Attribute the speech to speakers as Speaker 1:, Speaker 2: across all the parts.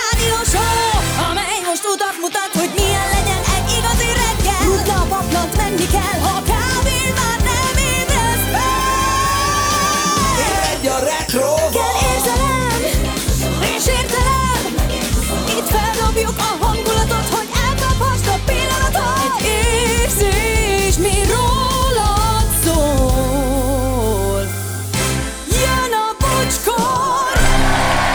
Speaker 1: rádió show, amely most utat mutat, hogy milyen legyen egy igazi reggel. Rutna a paplant, menni kell, ha kávén már nem ébredsz fel.
Speaker 2: Egy a retro
Speaker 1: Kell érzelem, és értelem, itt feldobjuk a hangulatot, hogy elkaphast a pillanatot. Egy érzés, mi rólad szól. Jön a bocskor!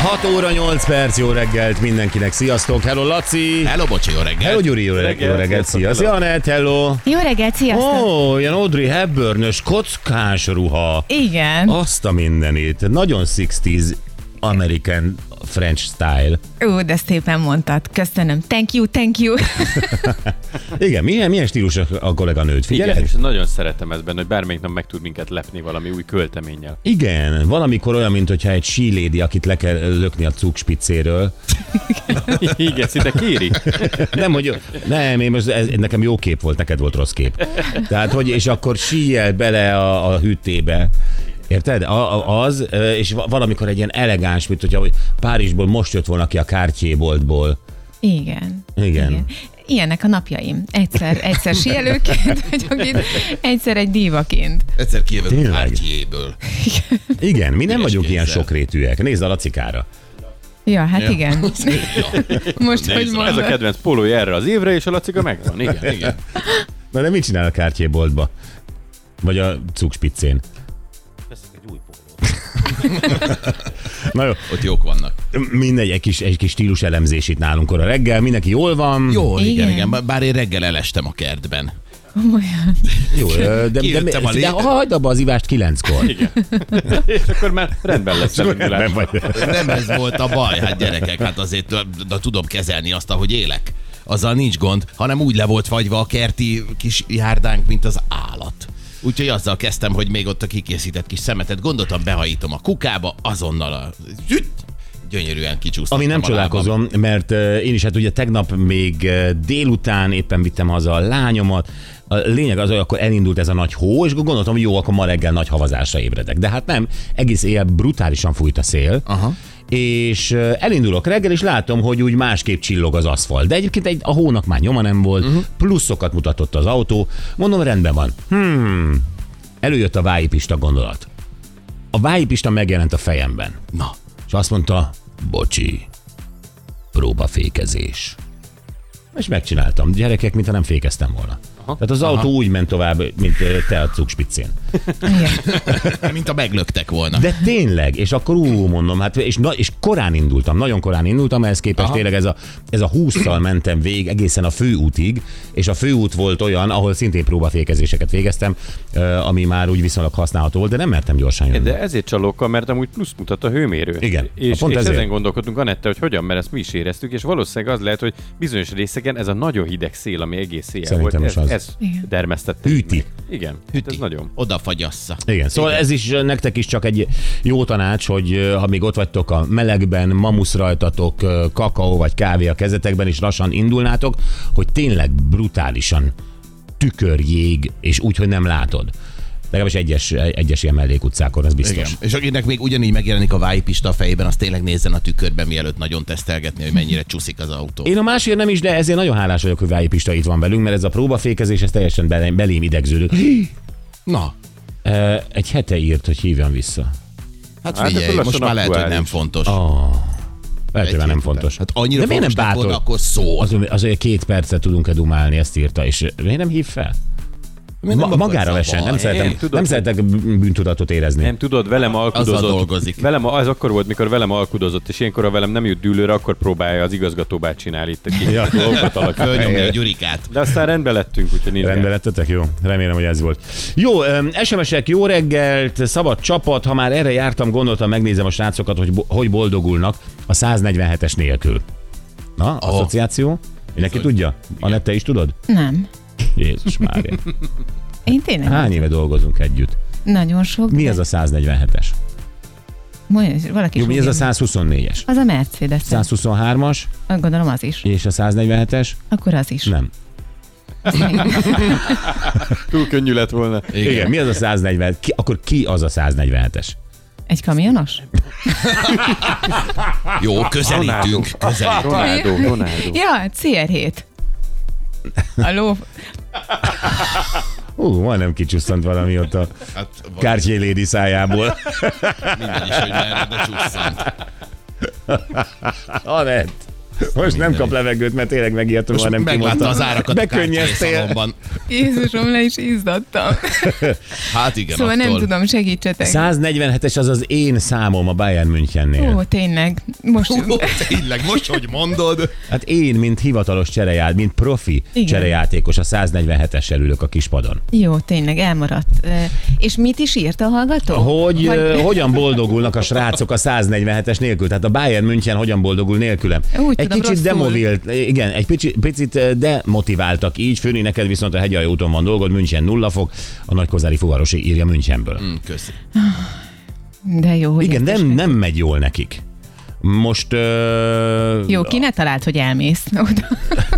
Speaker 3: 6 óra 8 perc, jó reggelt mindenkinek, sziasztok, hello Laci!
Speaker 4: Hello, bocsi, jó reggel.
Speaker 3: Hello Gyuri, jó reggelt, jó reggelt, szia, szia Anett, hello!
Speaker 5: Jó reggelt, sziasztok!
Speaker 3: Ó, oh, ilyen Audrey Hepburnös kockás ruha.
Speaker 5: Igen.
Speaker 3: Azt a mindenit. Nagyon 60s American French style.
Speaker 5: Ó, de szépen mondtad. Köszönöm. Thank you, thank you.
Speaker 3: Igen, milyen, milyen stílus a- a kolléganőd,
Speaker 6: Igen,
Speaker 3: figyeled?
Speaker 6: és nagyon szeretem ezt benne, hogy bármelyik nap meg tud minket lepni valami új költeménnyel.
Speaker 3: Igen, valamikor olyan, mint hogyha egy sílédi, akit le kell lökni a cukspicéről.
Speaker 6: Igen, szinte kéri.
Speaker 3: Nem, hogy nem, én most, ez, nekem jó kép volt, neked volt rossz kép. Tehát, hogy és akkor síjjel bele a, a hűtébe. Érted? A, a, az, ö, és va- valamikor egy ilyen elegáns, mint hogyha hogy Párizsból most jött volna ki a kártyéboltból.
Speaker 5: Igen.
Speaker 3: Igen.
Speaker 5: Ilyenek a napjaim. Egyszer, egyszer sielőként vagyok itt, egyszer egy dívaként.
Speaker 4: Egyszer kijövök
Speaker 3: Tényleg?
Speaker 4: Ártyéből.
Speaker 3: Igen, mi nem
Speaker 4: Üres
Speaker 3: vagyunk ilyen
Speaker 4: kézzel.
Speaker 3: sokrétűek. Nézd a lacikára.
Speaker 5: Ja, hát igen. Most, hogy
Speaker 4: Nézd,
Speaker 6: Ez a
Speaker 5: mondod.
Speaker 6: kedvenc pólója erre az évre, és a laciga megvan. Igen.
Speaker 4: Igen.
Speaker 3: Na de mit csinál a kártyéboltba? Vagy a cukspiccén?
Speaker 6: Veszek egy új pólót.
Speaker 3: Na jó,
Speaker 4: Ott jók vannak.
Speaker 3: mindegy, egy kis, egy kis stílus elemzés itt nálunk a reggel. Mindenki jól van?
Speaker 4: Jó, igen, Hm. igen.
Speaker 5: Igen.
Speaker 4: igen. Bár én reggel elestem a kertben.
Speaker 5: Komolyan.
Speaker 3: Jó, ö, de, de, de,
Speaker 4: Kijöttem a
Speaker 3: de, de
Speaker 4: lépten.
Speaker 3: hagyd abba az ivást kilenckor. Igen.
Speaker 6: És akkor már rendben lesz a
Speaker 3: Nem
Speaker 6: indulás.
Speaker 3: vagy.
Speaker 4: Nem ez volt a baj, hát gyerekek, hát azért de, de tudom kezelni azt, ahogy élek. Azzal nincs gond, hanem úgy le volt fagyva a kerti kis járdánk, mint az állat. Úgyhogy azzal kezdtem, hogy még ott a kikészített kis szemetet gondoltam, behajítom a kukába, azonnal a... Üt! Gyönyörűen kicsúsztam.
Speaker 3: Ami nem csodálkozom, mert ö, én is hát ugye tegnap még ö, délután éppen vittem haza a lányomat. A lényeg az, hogy akkor elindult ez a nagy hó, és gondoltam, hogy jó, akkor ma reggel nagy havazásra ébredek. De hát nem, egész éjjel brutálisan fújt a szél.
Speaker 4: Aha.
Speaker 3: és ö, elindulok reggel, és látom, hogy úgy másképp csillog az aszfalt. De egyébként egy, a hónak már nyoma nem volt, uh-huh. pluszokat mutatott az autó. Mondom, rendben van. Hmm. Előjött a vájipista gondolat. A vájipista megjelent a fejemben.
Speaker 4: Na,
Speaker 3: És azt mondta, bocsi, próbafékezés. És megcsináltam. Gyerekek, mintha nem fékeztem volna. Aha. Tehát az Aha. autó úgy ment tovább, mint ö, te a cukspiccén.
Speaker 5: Igen.
Speaker 4: mint a meglöktek volna.
Speaker 3: De tényleg, és akkor ú, mondom, hát, és, na, és korán indultam, nagyon korán indultam, ehhez képest Aha. tényleg ez a, ez a 20-szal mentem végig egészen a főútig, és a főút volt olyan, ahol szintén próbafékezéseket végeztem, ö, ami már úgy viszonylag használható volt, de nem mertem gyorsan jönni.
Speaker 6: De ezért csalókkal, mert amúgy plusz mutat a hőmérő.
Speaker 3: Igen,
Speaker 6: És,
Speaker 3: pont
Speaker 6: és
Speaker 3: ezért.
Speaker 6: ezen gondolkodtunk Anette, hogy hogyan, mert ezt mi is éreztük, és valószínűleg az lehet, hogy bizonyos részeken ez a nagyon hideg szél, ami egész éjjel
Speaker 3: Szerintem
Speaker 6: volt,
Speaker 3: is
Speaker 6: ez,
Speaker 3: az.
Speaker 6: ez
Speaker 5: Igen.
Speaker 6: dermesztette.
Speaker 3: Hűti.
Speaker 6: meg. Igen, Hűti. ez nagyon.
Speaker 4: Oda fagyassza.
Speaker 3: Igen, szóval Igen. ez is ö, nektek is csak egy jó tanács, hogy ö, ha még ott vagytok a melegben, mamusz rajtatok, ö, kakaó vagy kávé a kezetekben, és lassan indulnátok, hogy tényleg brutálisan tükörjég, és úgy, hogy nem látod. Legalábbis egyes, egyes ilyen mellékutcákon, ez biztos.
Speaker 4: Igen. És akinek még ugyanígy megjelenik a vájpista a fejében, az tényleg nézzen a tükörbe, mielőtt nagyon tesztelgetni, hogy mennyire csúszik az autó.
Speaker 3: Én a másért nem is, de ezért nagyon hálás vagyok, hogy Vályi Pista itt van velünk, mert ez a próbafékezés, ez teljesen bele- belém idegződött.
Speaker 4: Na,
Speaker 3: Ö, Egy hete írt, hogy hívjam vissza.
Speaker 4: hát
Speaker 6: Hát
Speaker 4: figyelj,
Speaker 6: akkor
Speaker 4: hát most
Speaker 6: lassan
Speaker 4: már lehet, hogy nem
Speaker 6: aktuális.
Speaker 4: fontos.
Speaker 3: Lehet, hogy
Speaker 4: Egy
Speaker 3: már nem
Speaker 4: hét után.
Speaker 3: fontos.
Speaker 4: Hát annyira
Speaker 3: de miért nem
Speaker 4: fontosnak
Speaker 3: bátor?
Speaker 4: volna, akkor szól.
Speaker 3: Az, azért két percet tudunk-e dumálni, ezt írta, és miért nem hív fel?
Speaker 4: Miért nem
Speaker 3: Ma,
Speaker 4: akar
Speaker 3: magára vesen, nem
Speaker 4: zavarni?
Speaker 3: szeretem,
Speaker 6: Én tudom,
Speaker 3: nem
Speaker 6: hogy-
Speaker 3: szeretek b- bűntudatot érezni.
Speaker 6: Nem tudod, velem alkudozott.
Speaker 4: dolgozik.
Speaker 6: Velem, az akkor volt, mikor velem alkudozott, és ilyenkor, ha velem nem jut dűlőre, akkor próbálja az igazgató csinálni itt ki. Ja. dolgokat
Speaker 4: Fölnyomja a
Speaker 6: alakítani.
Speaker 4: gyurikát.
Speaker 6: De aztán rendben lettünk, úgyhogy nincs.
Speaker 3: Rendben lettetek? Jó. Remélem, hogy ez volt. Jó, öm, SMS-ek, jó reggelt, szabad csapat. Ha már erre jártam, gondoltam, megnézem a srácokat, hogy bo- hogy boldogulnak a 147-es nélkül. Na,
Speaker 4: Aha.
Speaker 3: asszociáció? Mindenki
Speaker 4: Ah. Bizony.
Speaker 3: tudja? Anett, te is tudod?
Speaker 5: Nem.
Speaker 3: Jézus Mária.
Speaker 5: Én tényleg
Speaker 3: Hány éve dolgozunk együtt?
Speaker 5: nagyon sok.
Speaker 3: Hát, Mi
Speaker 5: de-
Speaker 3: ez a 147-es?
Speaker 5: Mondja, valaki
Speaker 3: Jó,
Speaker 5: is
Speaker 3: mi ez
Speaker 5: mondja.
Speaker 3: a 124-es?
Speaker 5: Az a Mercedes.
Speaker 3: 123-as
Speaker 5: Azt gondolom az is.
Speaker 3: és a 147-es?
Speaker 5: Akkor az is.
Speaker 3: Nem.
Speaker 6: Túl könnyű lett volna.
Speaker 3: Igen. Igen. Mi az a 140? Ki, akkor ki az a 147-es?
Speaker 5: Egy kamionos?
Speaker 4: Jó, közelítünk. közelítünk.
Speaker 6: Ronaldo, Ronaldo.
Speaker 5: Ja, CR7. A ló...
Speaker 3: Ú, majdnem kicsusszant valami ott a
Speaker 4: Hát, Kár...
Speaker 3: kártyé lédi szájából.
Speaker 4: mindegy is, hogy merre, de csusszant.
Speaker 3: Anett! Most nem kap levegőt, mert tényleg megijedtem,
Speaker 4: Ah, Most
Speaker 3: hanem
Speaker 4: meglátta
Speaker 3: kimondtam.
Speaker 4: az árakat a
Speaker 3: Bekönnyeztél.
Speaker 4: kártyaszalomban.
Speaker 5: Jézusom, le is izzadtam.
Speaker 4: Hát igen,
Speaker 5: Szóval nem
Speaker 4: attól.
Speaker 5: tudom, segítsetek.
Speaker 3: 147-es az az én számom a Bayern Münchennél.
Speaker 5: Ó, tényleg. Most...
Speaker 4: Hú, Tényleg, most, hogy mondod.
Speaker 3: Hát én, mint hivatalos csereját, mint profi
Speaker 5: Igen.
Speaker 3: cserejátékos, a 147-essel ülök a kispadon.
Speaker 5: Jó, tényleg, elmaradt. Ö, És mit is írt a hallgató?
Speaker 3: Hogy
Speaker 5: Vagy-
Speaker 3: Vagy... hogyan boldogulnak a srácok a 147-es nélkül? Tehát a Bayern München hogyan boldogul nélkülem?
Speaker 5: Úgy
Speaker 3: egy
Speaker 5: tudom,
Speaker 3: kicsit
Speaker 5: rosszul.
Speaker 3: demovilt, igen, egy picit, picit eh, demotiváltak így. Főni, neked viszont a hegyalja úton van dolgod, München nulla fok, a nagykozári fuvarosi írja Münchenből. Mm.
Speaker 4: Hm, Köszi.
Speaker 5: De jó, hogy...
Speaker 3: Igen,
Speaker 5: ezt is
Speaker 3: nem,
Speaker 5: meg-
Speaker 3: nem megy jól nekik. Most... Ö...
Speaker 5: Jó, ki ne talált, hogy elmész oda.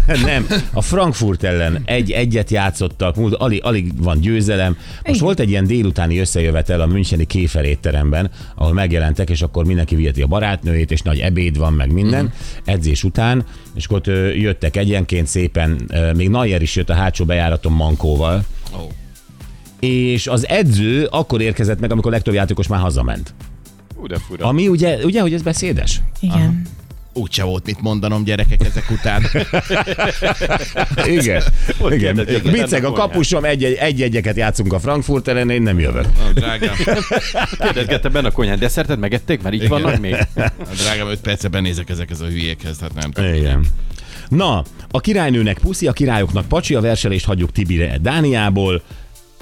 Speaker 3: Nem, a Frankfurt ellen egy egyet játszottak, múlt, alig, alig van győzelem. Most
Speaker 5: Igen.
Speaker 3: volt egy ilyen délutáni összejövetel a Müncheni Kéfer étteremben, ahol megjelentek, és akkor mindenki viheti a barátnőjét, és nagy ebéd van, meg minden, edzés után, és akkor ott ö, jöttek egyenként szépen, ö, még Nayer is jött a hátsó bejáraton Mankóval,
Speaker 4: Ó.
Speaker 3: és az edző akkor érkezett meg, amikor a legtöbb játékos már hazament.
Speaker 6: Ú, de fura.
Speaker 3: Ami ugye, ugye hogy ez beszédes?
Speaker 5: Igen.
Speaker 4: Úgyse volt mit mondanom gyerekek ezek után.
Speaker 3: Igen. Igen.
Speaker 6: kérdezik, hogy
Speaker 3: Biceg a
Speaker 6: ennek hol
Speaker 3: kapusom, egy- egy-egyeket játszunk a Frankfurt ellen, én nem jövök.
Speaker 4: A drágám,
Speaker 6: Kérdezgette benne a konyhán, de szerted megették? Mert itt
Speaker 4: Igen.
Speaker 6: vannak még?
Speaker 4: a drágám, 5 percben benézek ezekhez a hülyékhez, tehát nem tudom.
Speaker 3: Igen. Na, a királynőnek puszi, a királyoknak pacsi, a verselést hagyjuk Tibire Dániából.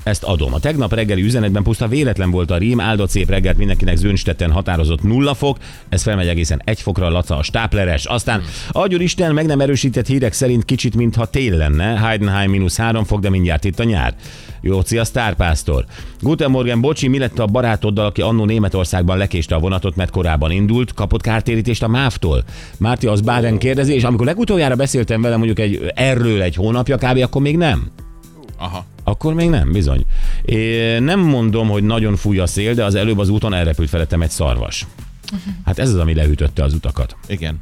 Speaker 3: Ezt adom. A tegnap reggeli üzenetben puszta véletlen volt a rím, áldott szép reggelt mindenkinek zönstetten határozott nulla fok, ez felmegy egészen egy fokra, Laca a stápleres. Aztán, adjon Isten, meg nem erősített hírek szerint kicsit, mintha tél lenne, Heidenheim mínusz három fok, de mindjárt itt a nyár. Jóci a sztárpásztor. Guten Morgen, bocsi, mi lett a barátoddal, aki annó Németországban lekéste a vonatot, mert korábban indult, kapott kártérítést a MÁV-tól? Márti az Báden kérdezi, és amikor legutoljára beszéltem vele mondjuk egy erről egy hónapja kb., akkor még nem.
Speaker 4: Aha.
Speaker 3: Akkor még nem, bizony. É, nem mondom, hogy nagyon fúj a szél, de az előbb az úton elrepült felettem egy szarvas. Hát ez az, ami leütötte az utakat.
Speaker 4: Igen.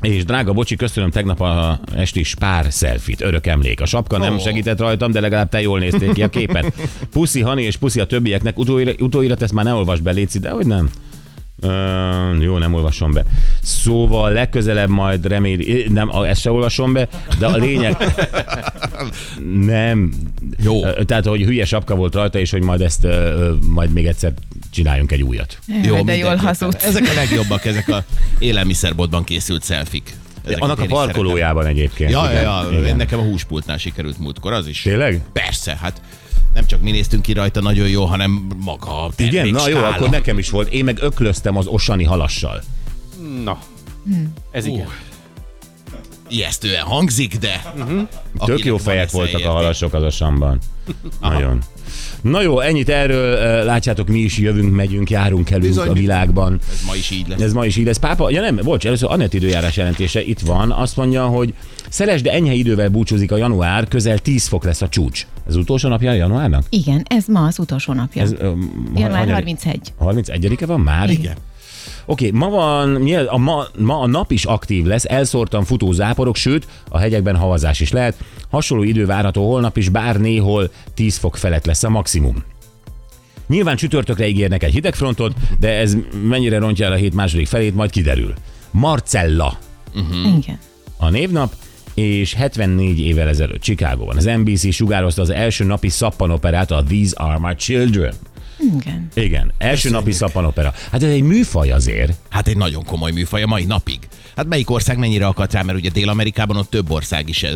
Speaker 3: És drága bocsi, köszönöm tegnap a esti spár szelfit, örök emlék. A sapka nem
Speaker 4: Ó.
Speaker 3: segített rajtam, de legalább te jól néztél ki a képet. Puszi, Hani és puszi a többieknek, utóirat, utóirat ezt már ne olvasd be, Léci, de hogy nem. Ö, jó, nem olvasom be. Szóval legközelebb majd reméli... Nem, a- ezt se olvasom be, de a lényeg... Nem.
Speaker 4: Jó.
Speaker 3: Ö, Tehát, hogy hülye sapka volt rajta, és hogy majd ezt, ö, ö, majd még egyszer csináljunk egy újat.
Speaker 5: Jó, de jól
Speaker 4: mindenképpen.
Speaker 5: hazudsz.
Speaker 4: Ezek a legjobbak, ezek a élelmiszerboltban készült szelfik. Ezeket
Speaker 3: Annak a
Speaker 4: én is
Speaker 3: parkolójában egyébként.
Speaker 4: szeretem. Ja,
Speaker 3: igen,
Speaker 4: ja, ja,
Speaker 3: igen.
Speaker 4: nekem a húspultnál sikerült múltkor, az is.
Speaker 3: Tényleg?
Speaker 4: Persze, hát nem csak mi néztünk ki rajta nagyon jó, hanem maga a
Speaker 3: Igen, na jó,
Speaker 4: termékstála.
Speaker 3: akkor nekem is volt. Én meg öklöztem az osani halassal.
Speaker 6: Na. Ez igen.
Speaker 4: Ijesztően hangzik, de... Uh-huh.
Speaker 3: Mhm. Tök jó fejek voltak a halasok az osanban. Nagyon. Na jó, ennyit erről. eh, Látjátok, mi is jövünk, megyünk, járunk, elünk
Speaker 4: Bizony.
Speaker 3: a világban.
Speaker 4: Ez ma is így lesz.
Speaker 3: Ez ma is így lesz. Pápa, ja nem, bocs, először Anett időjárás jelentése itt van. Azt mondja, hogy szeresd, de enyhe idővel búcsúzik a január, közel 10 fok lesz a csúcs. Ez utolsó napja a januárnak?
Speaker 5: Igen, ez ma az utolsó napja.
Speaker 3: Ez,
Speaker 5: Ez,
Speaker 3: ö, ha-
Speaker 5: Január
Speaker 3: hanyadi-
Speaker 5: 31.
Speaker 3: 31-e van már?
Speaker 4: Igen.
Speaker 3: Oké, ma van, nyilv- a ma, ma a nap is aktív lesz, elszórtan futó záporok, sőt, a hegyekben havazás is lehet. Hasonló idő várható holnap is, bár néhol 10 fok felett lesz a maximum. Nyilván csütörtökre ígérnek egy hidegfrontot, de ez mennyire rontja el a hét második felét, majd kiderül. Marcella
Speaker 5: Igen.
Speaker 3: a névnap, és 74 évvel ezelőtt Csikágóban az NBC sugározta az első napi szappanoperát, a These Are My Children.
Speaker 5: Igen.
Speaker 3: Igen, első napi szappanopera. Hát ez egy műfaj azért.
Speaker 4: Hát egy nagyon komoly műfaj a mai napig. Hát melyik ország mennyire akadt rá, mert ugye Dél-Amerikában ott több ország is ö,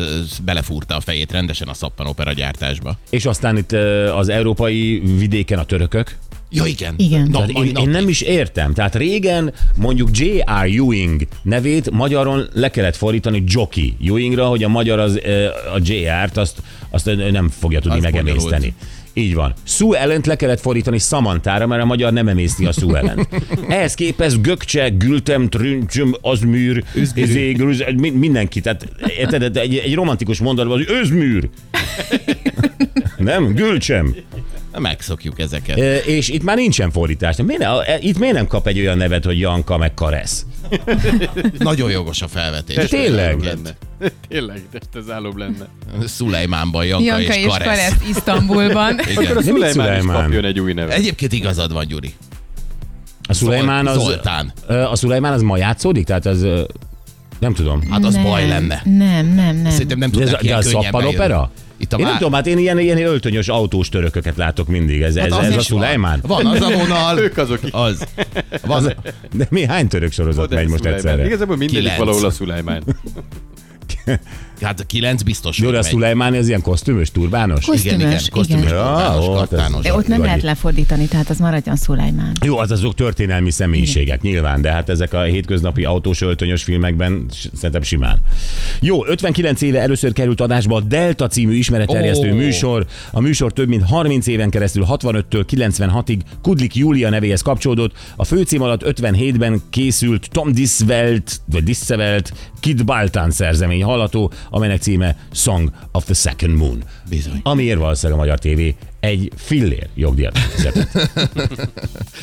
Speaker 4: belefúrta a fejét rendesen a szappanopera gyártásba.
Speaker 3: És aztán itt ö, az európai vidéken a törökök.
Speaker 4: Ja, igen.
Speaker 5: Igen.
Speaker 4: Na,
Speaker 3: Tehát
Speaker 4: mai
Speaker 3: én,
Speaker 4: nap,
Speaker 3: én nem is értem. Tehát régen mondjuk J.R. Ewing nevét magyaron le kellett fordítani Jockey Ewingra, hogy a magyar az, ö, a J.R.-t azt, azt ö, nem fogja tudni
Speaker 4: Az
Speaker 3: megemészteni.
Speaker 4: bonyolult.
Speaker 3: Így van. Sue ellent le kellett fordítani Samantára, mert a magyar nem emészti a Sue ellent. Ehhez képest Gökcse, Gültem, Trüncsöm, Azműr, Özműr, mindenki. Tehát érted, egy, egy romantikus mondatban az hogy Özműr. Nem? Gülcsem.
Speaker 4: Na, Megszokjuk ezeket.
Speaker 3: E, és itt már nincsen fordítás. Miért ne, e, itt miért nem kap egy olyan nevet, hogy Janka meg Karesz?
Speaker 4: Nagyon jogos a felvetés.
Speaker 3: Tényleg?
Speaker 6: Lenne. hát Tényleg, de ez álom lenne.
Speaker 4: Szulejmánban Janka,
Speaker 5: Janka és
Speaker 4: Karesz.
Speaker 5: Karesz Isztambulban.
Speaker 4: Igen.
Speaker 6: Akkor a
Speaker 3: De mit
Speaker 6: Szulejmán is
Speaker 3: Szulejmán?
Speaker 6: kapjon egy új nevet.
Speaker 4: Egyébként igazad van, Gyuri.
Speaker 3: A Szulejmán az,
Speaker 4: Zoltán.
Speaker 3: ö, a Szulejmán az ma játszódik? Tehát az... ö, Nem tudom.
Speaker 4: Hát az
Speaker 5: nem,
Speaker 4: baj lenne.
Speaker 5: Nem, nem, nem.
Speaker 4: Szerintem nem
Speaker 3: De ez,
Speaker 4: tudnak
Speaker 3: de
Speaker 4: ilyen
Speaker 3: az szappan
Speaker 4: könnyebben
Speaker 3: opera?
Speaker 4: jönni. Itt a
Speaker 3: Én nem
Speaker 4: vár...
Speaker 3: tudom, hát én ilyen, ilyen öltönyös autós törököket látok mindig. Ez, ez,
Speaker 4: Hát
Speaker 3: ez
Speaker 4: az is
Speaker 3: a
Speaker 4: van.
Speaker 3: Szulejmán?
Speaker 4: Van az a vonal.
Speaker 6: Ők azok, akik-
Speaker 4: Az. Van, az...
Speaker 3: De mi hány török sorozat
Speaker 6: Oda
Speaker 3: megy most
Speaker 6: Szulejmán.
Speaker 3: egyszerre?
Speaker 6: Igazából mindegyik
Speaker 4: Kilenc.
Speaker 6: valahol a Szulejmán.
Speaker 4: Hát a kilenc biztos,
Speaker 3: Jó, de a
Speaker 4: megy.
Speaker 3: Szulejmán ez ilyen kosztümös, turbános?
Speaker 4: Igen, igen,
Speaker 5: Kosztümös,
Speaker 4: kosztümös,
Speaker 5: igen.
Speaker 4: kortános,
Speaker 3: Ja, ó, hát ez-
Speaker 4: kortános.
Speaker 5: De ott nem
Speaker 3: Vagy-
Speaker 5: lehet lefordítani, tehát az maradjon Szulajmán.
Speaker 3: Jó, az azok történelmi személyiségek, nyilván, de hát ezek a hétköznapi autós öltönyös filmekben s- szerintem simán. Jó, 59 éve először került adásba a Delta című ismeretterjesztő
Speaker 4: Ó.
Speaker 3: műsor. A műsor több mint 30 éven keresztül 65-től 96-ig Kudlik Júlia nevéhez kapcsolódott. A főcím alatt 57-ben készült Tom Disvelt, vagy Dissevelt Kid Baltán szerzemény hallató, amelynek címe Song of the Second Moon.
Speaker 4: Bizony.
Speaker 3: Amiért valószínűleg a Magyar TV egy fillér jogdíjat fizetett.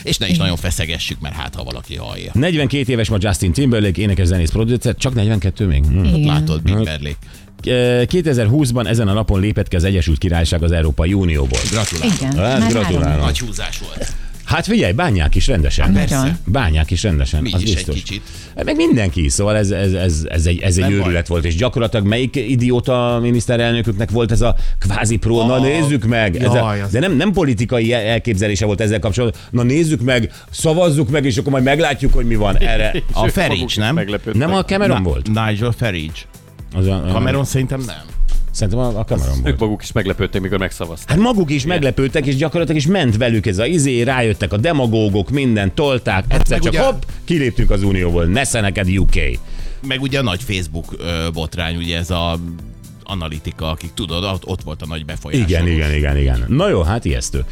Speaker 4: És ne is nagyon feszegessük, mert hát ha valaki hallja.
Speaker 3: 42 éves ma Justin Timberlake, énekes zenész producer, csak 42 még. Hm.
Speaker 5: Igen.
Speaker 4: Látod, Big Berlék.
Speaker 3: Ö, 2020-ban ezen a napon lépett ki az Egyesült Királyság az Európai Unióból.
Speaker 4: Gratulálok.
Speaker 5: Igen.
Speaker 3: Hát,
Speaker 5: Már
Speaker 3: gratulálok.
Speaker 5: három.
Speaker 4: Nagy húzás volt.
Speaker 3: Hát figyelj, bánják is rendesen.
Speaker 5: Nagyon.
Speaker 4: Persze.
Speaker 3: Bánják is rendesen,
Speaker 4: Mi
Speaker 3: az
Speaker 4: is egy
Speaker 3: biztos.
Speaker 4: kicsit.
Speaker 3: Meg mindenki, szóval ez, ez, ez, ez egy, ez egy
Speaker 4: Nem baj.
Speaker 3: őrület volt, és gyakorlatilag melyik idióta miniszterelnöküknek volt ez a kvázi pró, na
Speaker 4: Ah,
Speaker 3: nézzük meg, ez
Speaker 4: jaj,
Speaker 3: a,
Speaker 4: az-
Speaker 3: de nem, nem politikai el- elképzelése volt ezzel kapcsolatban, na nézzük meg, szavazzuk meg, és akkor majd meglátjuk, hogy mi van erre.
Speaker 4: A
Speaker 6: ők maguk
Speaker 4: Ferics,
Speaker 6: is
Speaker 4: nem?
Speaker 6: meglepődtek.
Speaker 3: Nem a Cameron volt?
Speaker 4: Nigel Ferics.
Speaker 3: Az a,
Speaker 4: Cameron szerintem nem.
Speaker 3: Szerintem a, a Cameron volt.
Speaker 6: Ők maguk is meglepődtek, mikor megszavazták.
Speaker 3: Hát maguk is meglepődtek, és gyakorlatilag is ment velük ez a izé, rájöttek a demagógok, minden tolták, egyszer
Speaker 4: meg
Speaker 3: csak
Speaker 4: ugye-
Speaker 3: hopp, kiléptünk az unióból, nesze neked UK.
Speaker 4: Meg ugye a nagy Facebook ö, botrány, ugye ez a analitika, akik tudod, ott, ott volt a nagy befolyás.
Speaker 3: Igen, igen, igen, igen. Na jó, hát ijesztő.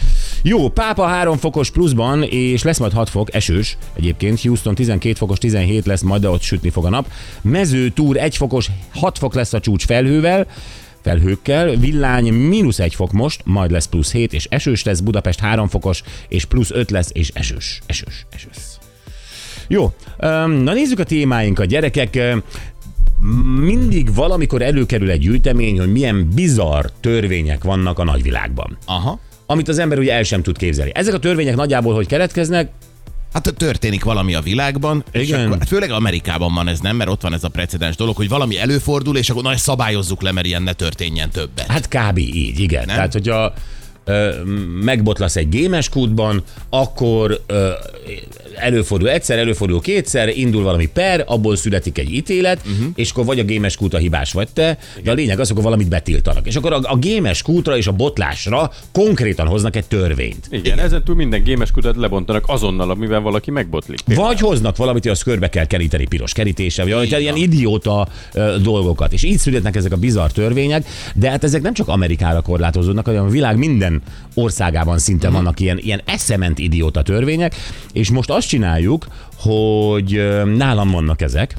Speaker 3: Jó, Pápa 3 fokos pluszban, és lesz majd 6 fok, esős egyébként. Houston 12 fokos, 17 lesz, majd de ott sütni fog a nap. Mező túr 1 fokos, 6 fok lesz a csúcs felhővel, felhőkkel, villány mínusz 1 fok most, majd lesz plusz 7, és esős lesz, Budapest 3 fokos, és plusz 5 lesz, és esős, esős, esős. Jó, öm, na nézzük a témáinkat, gyerekek. Öm, Mindig valamikor előkerül egy gyűjtemény, hogy milyen bizarr törvények vannak a nagyvilágban,
Speaker 4: Aha.
Speaker 3: amit az ember ugye el sem tud képzelni. Ezek a törvények nagyjából hogy keletkeznek?
Speaker 4: Hát történik valami a világban, és
Speaker 3: Igen.
Speaker 4: Akkor, hát főleg Amerikában van ez, nem? Mert ott van ez a precedens dolog, hogy valami előfordul, és akkor na, ezt szabályozzuk le, mert ilyen ne történjen többet.
Speaker 3: Hát kb. így, igen. Nem?
Speaker 4: Nem?
Speaker 3: Tehát, hogyha ö, megbotlasz egy gémes kútban, akkor ö, előfordul egyszer, előfordul kétszer, indul valami per, abból születik egy ítélet, uh-huh. és akkor vagy a gémes kút a hibás vagy te, de a lényeg az, akkor valamit betiltanak. És akkor a, a gémes kútra és a botlásra konkrétan hoznak egy törvényt.
Speaker 6: Igen, ezen túl minden gémes kutat lebontanak azonnal, amivel valaki megbotlik.
Speaker 3: Vagy hoznak valamit, hogy azt körbe kell keríteni piros kerítése, vagy olyan,
Speaker 4: Így
Speaker 3: ilyen
Speaker 4: van.
Speaker 3: idióta ö, dolgokat. És így születnek ezek a bizarr törvények, de hát ezek nem csak Amerikára korlátozódnak, hanem a világ minden országában szinte
Speaker 4: Mhm.
Speaker 3: vannak ilyen, ilyen eszement idióta törvények, és most azt csináljuk, hogy ö, nálam vannak ezek,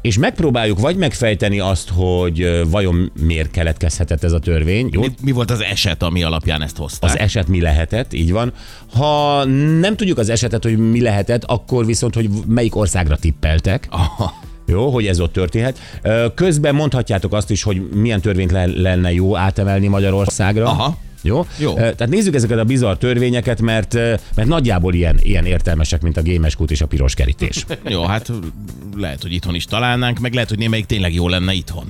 Speaker 3: és megpróbáljuk vagy megfejteni azt, hogy ö, vajon miért keletkezhetett ez a törvény. Jó,
Speaker 4: Mi, mi volt az eset, ami alapján ezt hozták?
Speaker 3: az eset mi lehetett, így van. Ha nem tudjuk az esetet, hogy mi lehetett, akkor viszont, hogy melyik országra tippeltek.
Speaker 4: Aha.
Speaker 3: Jó, hogy ez ott történhet. Ö, Közben mondhatjátok azt is, hogy milyen törvényt le- lenne jó átemelni Magyarországra.
Speaker 4: Aha.
Speaker 3: Jó?
Speaker 4: Jó.
Speaker 3: Ö, Tehát nézzük ezeket a bizarr törvényeket, mert, ö, mert nagyjából ilyen, ilyen értelmesek, mint a gémes kút és a piros kerítés.
Speaker 4: Jó, hát lehet, hogy itthon is találnánk, meg lehet, hogy némelyik tényleg jó lenne itthon.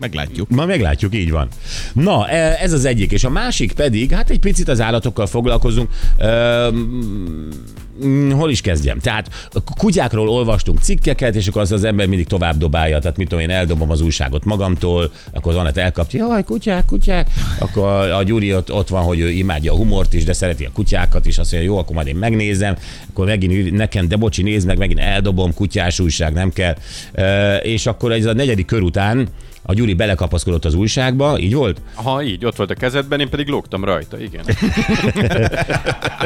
Speaker 4: Meglátjuk.
Speaker 3: Ma meglátjuk, így van. Na, e, ez az egyik. És a másik pedig, hát egy picit az állatokkal foglalkozunk. Ö, mm, hol is kezdjem? Tehát a kutyákról olvastunk cikkeket, és akkor az az ember mindig tovább dobálja. Tehát mit tudom én, eldobom az újságot magamtól, akkor az Anett elkapja, jaj, kutyák, kutyák. Akkor a, a Gyuri ott, ott van, hogy ő imádja a humort is, de szereti a kutyákat is, azt mondja, jó, akkor majd én megnézem, akkor megint ül- nekem, de bocsi, nézd meg, megint eldobom, kutyás újság, nem kell. Ö, és akkor ez a negyedik kör után a Gyuri belekapaszkodott az újságba, így volt?
Speaker 6: Ha így, ott volt a kezedben, én pedig lógtam rajta, igen.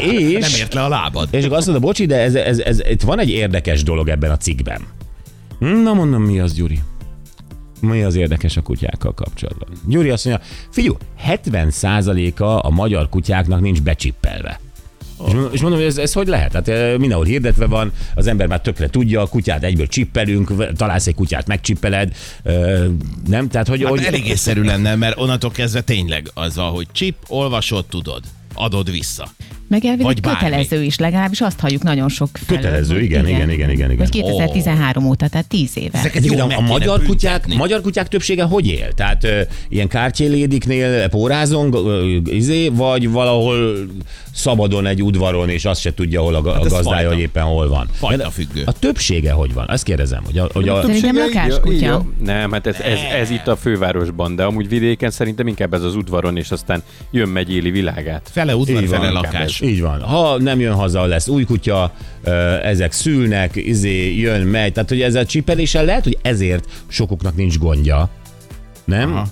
Speaker 4: Nem
Speaker 3: És,
Speaker 4: ért le a lábad.
Speaker 3: és akkor azt mondta, bocsi, de ez, ez, Hmm, ez, itt van egy érdekes dolog ebben a cikkben. Na mondom, mi az, Gyuri? mi az érdekes a kutyákkal kapcsolatban. Gyuri azt mondja, figyú, 70%-a a magyar kutyáknak nincs becsippelve. És mondom- És mondom, hogy ez, ez hogy lehet? Hát eh, mindenhol hirdetve van, az ember már tökre tudja, a kutyát egyből csippelünk, v- találsz egy kutyát, megcsippeled, eh, nem? Tehát, hogy...
Speaker 4: Hát
Speaker 3: hogy
Speaker 4: elég észszerű lenne, mert onnantól kezdve tényleg az van, hogy csip, olvasod, tudod, adod vissza.
Speaker 5: Meg elvileg
Speaker 4: Vagy bármi.
Speaker 5: kötelező is, legalábbis azt halljuk nagyon sok felől,
Speaker 3: Kötelező,
Speaker 5: hogy
Speaker 3: igen, igen, igen, igen, igen.
Speaker 5: Hogy 2013 óta, tehát 10 éve.
Speaker 4: Ezeket
Speaker 3: Egyébként
Speaker 4: jó
Speaker 3: a,
Speaker 4: meg
Speaker 3: a
Speaker 4: kéne
Speaker 3: magyar,
Speaker 4: büntetni.
Speaker 3: kutyák, magyar kutyák többsége hogy él? Tehát ö, ilyen kártyélédiknél pórázong, ö, izé, vagy valahol szabadon egy udvaron, és azt se tudja, hol a, ga- a
Speaker 4: Hát ez
Speaker 3: gazdája,
Speaker 4: fajta.
Speaker 3: hogy éppen hol van.
Speaker 4: Fajta
Speaker 3: Mert
Speaker 4: függő. Hát
Speaker 3: A többsége hogy van? Ezt kérdezem, hogy a, hogy a,
Speaker 5: Szerintem lakáskutya.
Speaker 6: Nem, hát ez, ez, ez, itt a fővárosban, de amúgy vidéken szerintem inkább ez az udvaron, és aztán jön megy éli világát.
Speaker 4: Fele udvar,
Speaker 3: Így van,
Speaker 4: fele
Speaker 3: inkább
Speaker 4: lakás.
Speaker 3: Így van. Ha nem jön haza, lesz új kutya, ö, ezek szülnek, izé, jön, megy. Tehát, hogy ezzel csipeléssel lehet, hogy ezért sokuknak nincs gondja. Nem? Aha.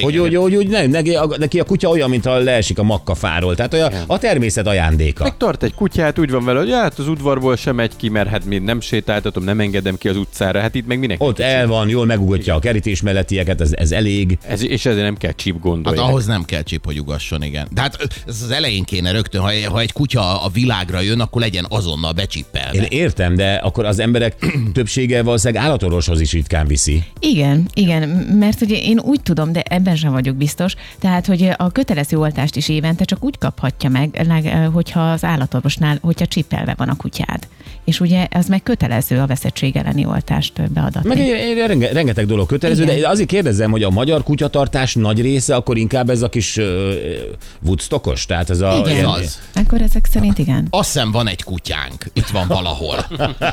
Speaker 3: Hogy,
Speaker 4: Igen.
Speaker 3: hogy, hogy, hogy nem, neki, a, neki a kutya olyan, mintha leesik a makkafáról. Tehát olyan a természet ajándéka.
Speaker 6: Meg tart egy kutyát, úgy van vele, hogy hát az udvarból sem megy ki, mert hát még nem sétáltatom, nem engedem ki az utcára, hát itt meg minek.
Speaker 3: Ott el van, jól megugotja a kerítés mellettieket, ez, ez elég.
Speaker 6: Ez, és ezért nem kell csíp
Speaker 4: Hát
Speaker 6: gondolni.
Speaker 4: ahhoz nem kell csip, hogy ugasson, igen. De hát ö, ez az elején kéne rögtön, ha, ha egy kutya a világra jön, akkor legyen azonnal becsippelve.
Speaker 3: Én értem, de akkor az emberek többsége valószínűleg állatorvoshoz is ritkán viszi.
Speaker 5: Igen, igen, mert ugye én úgy tudom, de ebben sem vagyok biztos, tehát, hogy a kötelező oltást is évente csak úgy kaphatja meg, leg- eh, hogyha az állatorvosnál, hogyha csipelve van a kutyád. És ugye az meg kötelező a veszettség elleni oltást beadatni.
Speaker 3: Meg egy- egy- renge- rengeteg dolog kötelező,
Speaker 5: Igen.
Speaker 3: de azért kérdezem, hogy a magyar kutyatartás nagy része akkor inkább ez a kis uh, Woodstockos, tehát ez a...
Speaker 5: igen.
Speaker 4: ez
Speaker 3: ilyen-
Speaker 4: az.
Speaker 5: Akkor ezek szerint igen.
Speaker 4: Azt hiszem van egy kutyánk, itt van valahol.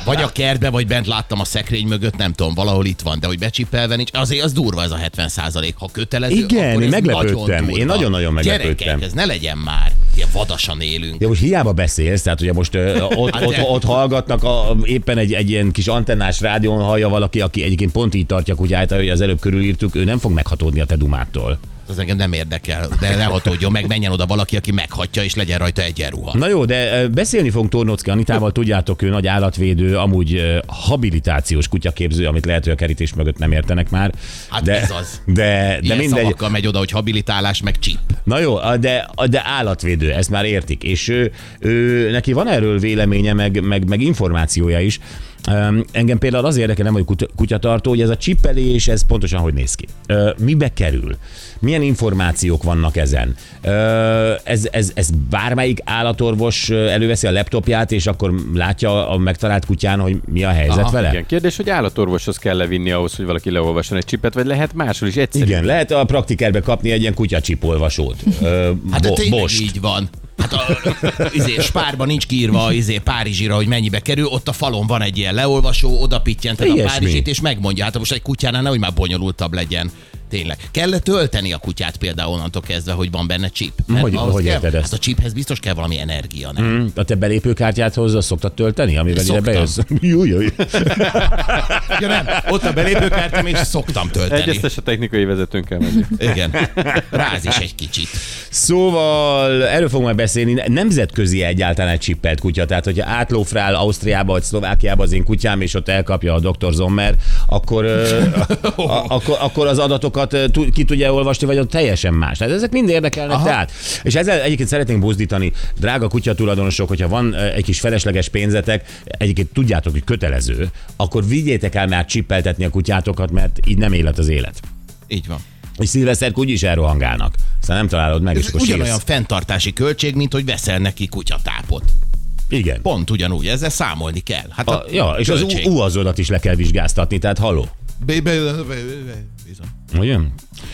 Speaker 4: Vagy a kertbe, vagy bent láttam a szekrény mögött, nem tudom, valahol itt van, de hogy becsipelve nincs, azért az durva ez a 70 százalék, ha kötelező,
Speaker 3: Igen,
Speaker 4: akkor
Speaker 3: én
Speaker 4: ez
Speaker 3: meglepődtem.
Speaker 4: nagyon durva.
Speaker 3: Én nagyon-nagyon meglepődtem.
Speaker 4: Gyerekek, ez ne legyen már, ilyen vadasan élünk.
Speaker 3: Ja, most hiába beszélsz, tehát ugye most ö, ott,
Speaker 4: Hát
Speaker 3: ott,
Speaker 4: de-
Speaker 3: ott hallgatnak, a, éppen egy, egy ilyen kis antennás rádión hallja valaki, aki egyébként pont így tartja kutyáját, ahogy az előbb körülírtuk, ő nem fog meghatódni a te dumától.
Speaker 4: Az engem nem érdekel, de ne hatódjon meg, menjen oda valaki, aki meghatja, és legyen rajta egyenruha.
Speaker 3: Na jó, de ö, beszélni fogunk Tornocki Anitával, tudjátok, ő nagy állatvédő, amúgy ö, habilitációs kutyaképző, amit lehet, hogy a kerítés mögött nem értenek már.
Speaker 4: Hát
Speaker 3: de,
Speaker 4: ez az.
Speaker 3: De, de
Speaker 4: Ilyen
Speaker 3: mindegy,
Speaker 4: szavakkal megy oda, hogy habilitálás, meg csip.
Speaker 3: Na jó, a- de, a- de állatvédő, ezt már értik, és ő, ő, neki van erről véleménye, meg, meg, meg információja is. Öm, Engem például az érdekel, nem vagyok kut- kutyatartó, hogy ez a csippelés, ez pontosan hogy néz ki? Ö, Mibe kerül? Milyen információk vannak ezen? Ö, Ez, ez, ez bármelyik állatorvos ö, előveszi a laptopját, és akkor látja a megtalált kutyán, hogy mi a helyzet
Speaker 4: Aha,
Speaker 3: vele?
Speaker 6: Igen, kérdés, hogy állatorvoshoz kell-e vinni ahhoz, hogy valaki leolvasson egy csipet, vagy lehet máshol is egyszerű.
Speaker 3: Igen, lehet a praktikerbe kapni egy ilyen kutyacsipolvasót. Ö,
Speaker 4: Hát de
Speaker 3: bo-
Speaker 4: tényleg
Speaker 3: bost.
Speaker 4: így van. Hát a izé, spárba nincs kiírva izé, Párizsira, hogy mennyibe kerül, ott a falon van egy ilyen leolvasó, oda pittyented a
Speaker 3: Ilyesmi.
Speaker 4: Párizsit, és megmondja, hát most egy kutyánál nehogy már bonyolultabb legyen. Tényleg. Kell tölteni a kutyát például onnantól kezdve, hogy van benne chip? Mert
Speaker 3: Hogy-
Speaker 4: ahhoz
Speaker 3: hogy
Speaker 4: kell,
Speaker 3: érted ezt? Mm.
Speaker 4: Hát a chiphez biztos kell valami energia, nem?
Speaker 3: A te belépőkártyát hozzá szoktad tölteni, amivel ide
Speaker 4: Szoktam.
Speaker 3: bejössz? Jó, jó, jó.
Speaker 4: Ja, nem, ott a belépőkártyám, és szoktam tölteni.
Speaker 6: Egyeztes a technikai vezetőnkkel menni.
Speaker 4: Igen. Ráz is egy kicsit.
Speaker 3: Szóval erről fogunk majd beszélni. Nemzetközi egyáltalán egy csippelt kutya. Tehát, hogyha átlófrál Ausztriába vagy Szlovákiába az én kutyám, és ott elkapja a Dr. Zommer, akkor, ö, a, akkor, akkor az adatokat ö, tu- ki tudja olvasni, vagy ott teljesen más. Tehát ezek mind érdekelnek.
Speaker 4: Aha.
Speaker 3: Tehát. És ezzel egyébként szeretnénk buzdítani, drága kutyatulajdonosok, hogyha van ö, egy kis felesleges pénzetek, egyébként tudjátok, hogy kötelező, akkor vigyétek el már csippeltetni a kutyátokat, mert így nem élet az élet.
Speaker 4: Így van.
Speaker 3: És szilveszterk úgyis elrohangálnak. Szóval nem találod meg, és
Speaker 4: Ez
Speaker 3: akkor
Speaker 4: ugyanolyan
Speaker 3: sírsz.
Speaker 4: fenntartási költség, mint hogy veszel neki kutyatápot.
Speaker 3: Igen.
Speaker 4: Pont ugyanúgy, ezzel számolni kell. Hát
Speaker 3: A, ja, és az
Speaker 4: költség.
Speaker 3: u- uazodat is le kell vizsgáztatni, tehát haló.
Speaker 4: Be- be- be- be- bizony.
Speaker 3: Ugye?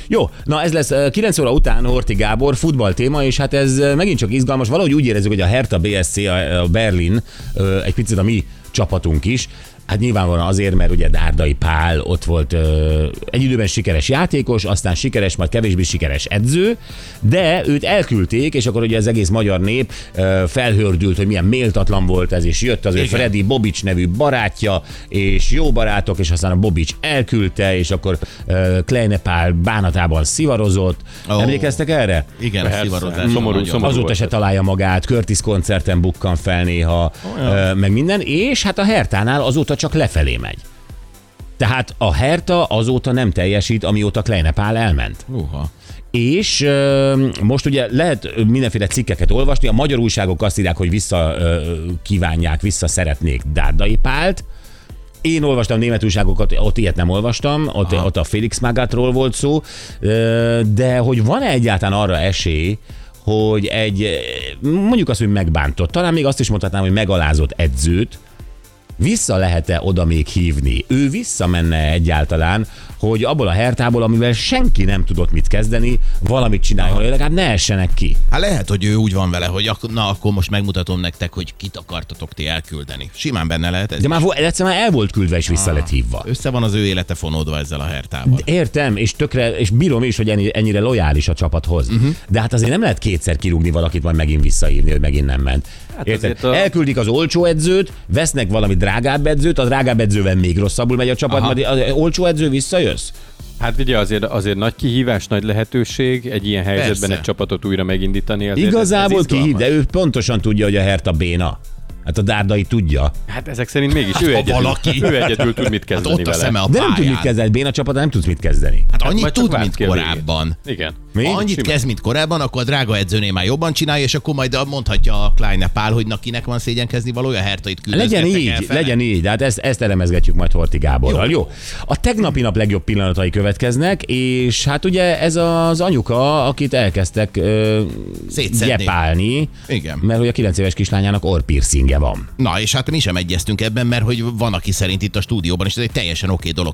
Speaker 3: Jó, na ez lesz ö, 9 óra után Horti Gábor, futball téma, és hát ez ö, megint csak izgalmas. Valahogy úgy érezzük, hogy a Hertha BSC, a a Berlin, ö, egy picit a mi csapatunk is, Hát nyilvánvalóan azért, mert ugye Dárdai Pál ott volt ö, egy időben sikeres játékos, aztán sikeres, majd kevésbé sikeres edző, de őt elküldték, és akkor ugye az egész magyar nép ö, felhördült, hogy milyen méltatlan volt ez, és jött az ő
Speaker 4: Igen.
Speaker 3: Fred Freddy Bobics nevű barátja, és jó barátok, és aztán a Bobics elküldte, és akkor uh, Kleine Pál bánatában szivarozott.
Speaker 4: Ó.
Speaker 3: Oh. Emlékeztek erre?
Speaker 4: Igen, a
Speaker 6: Persze.
Speaker 4: szivarozás.
Speaker 6: Szomorú,
Speaker 4: nagyon.
Speaker 6: szomorú.
Speaker 3: Azóta
Speaker 6: volt
Speaker 3: se
Speaker 6: ez.
Speaker 3: találja magát, Curtis koncerten bukkan fel néha, ö, meg minden, és hát a Hertánál azóta csak lefelé megy. Tehát a Herta azóta nem teljesít, amióta Kleinepál elment.
Speaker 4: Uha.
Speaker 3: És ö, most ugye lehet mindenféle cikkeket olvasni, a magyar újságok azt írják, hogy vissza ö, kívánják, vissza szeretnék Dárdai Pált. Én olvastam német újságokat, ott ilyet nem olvastam, ott, ott a Félix Magátról volt szó, ö, de hogy van-e egyáltalán arra esély, hogy egy, ö, mondjuk azt, hogy megbántott, talán még azt is mondhatnám, hogy megalázott edzőt, vissza lehet-e oda még hívni? Ő visszamenne egyáltalán, hogy abból a hertából, amivel senki nem tudott mit kezdeni, valamit csináljon, hogy legalább ne essenek ki.
Speaker 4: Hát lehet, hogy ő úgy van vele, hogy ak- na akkor most megmutatom nektek, hogy kit akartatok ti elküldeni. Simán benne lehet ez.
Speaker 3: De már vo- egyszer már el volt küldve és vissza lett hívva.
Speaker 4: Össze van az ő élete fonódva ezzel a hertával.
Speaker 3: Értem, és tökre, és bírom is, hogy ennyi- ennyire lojális a csapathoz. Uh-huh. De hát azért nem lehet kétszer kirúgni valakit, majd megint visszaírni, hogy megint nem ment. Hát Érted?
Speaker 6: azért a-
Speaker 3: Elküldik az olcsó edzőt, vesznek valami drágább edzőt, a drágább edzővel még rosszabbul megy a csapat,
Speaker 4: Aha.
Speaker 3: majd az olcsó edző visszajössz?
Speaker 6: Hát ugye azért, azért nagy kihívás, nagy lehetőség egy ilyen helyzetben
Speaker 4: Persze.
Speaker 6: egy csapatot újra megindítani. Azért
Speaker 3: Igazából
Speaker 6: ez, ez
Speaker 3: kihív,
Speaker 6: izgalmas.
Speaker 3: de ő pontosan tudja, hogy a Herta béna. Hát a dárdai tudja.
Speaker 6: Hát ezek szerint mégis ő,
Speaker 4: ha
Speaker 6: egyedül,
Speaker 4: valaki.
Speaker 6: ő egyedül tud mit
Speaker 4: Hát
Speaker 6: kezdeni
Speaker 4: ott a
Speaker 6: vele.
Speaker 4: szeme a
Speaker 3: De nem tud
Speaker 4: pályán.
Speaker 3: mit kezdeni, béna csapat, nem tudsz mit kezdeni.
Speaker 4: Hát
Speaker 6: Hát
Speaker 4: annyit
Speaker 6: majd csak
Speaker 4: tud,
Speaker 6: várd
Speaker 4: mint
Speaker 6: ki a végét.
Speaker 4: korábban.
Speaker 6: Igen.
Speaker 3: Mi?
Speaker 4: Annyit
Speaker 6: Simán.
Speaker 4: kezd, mint korábban, akkor a drága edző már jobban csinálja, és akkor majd mondhatja a Kleine Pál, hogy na kinek van szégyenkezni valója, Hertait küldözgetek
Speaker 3: Hát Legyen így,
Speaker 4: elfele.
Speaker 3: legyen így, de hát ezt, ezt elemezgetjük majd Horti Gáborral, jó. jó? A tegnapi nap legjobb pillanatai következnek, és hát ugye ez az anyuka, akit elkezdtek ö,
Speaker 4: Szétszedni.
Speaker 3: gyepálni,
Speaker 4: Igen.
Speaker 3: mert hogy a 9 éves kislányának orpírszingje van.
Speaker 4: Na, és hát mi sem egyeztünk ebben, mert hogy van, aki szerint itt a stúdióban, és ez egy teljesen oké dolog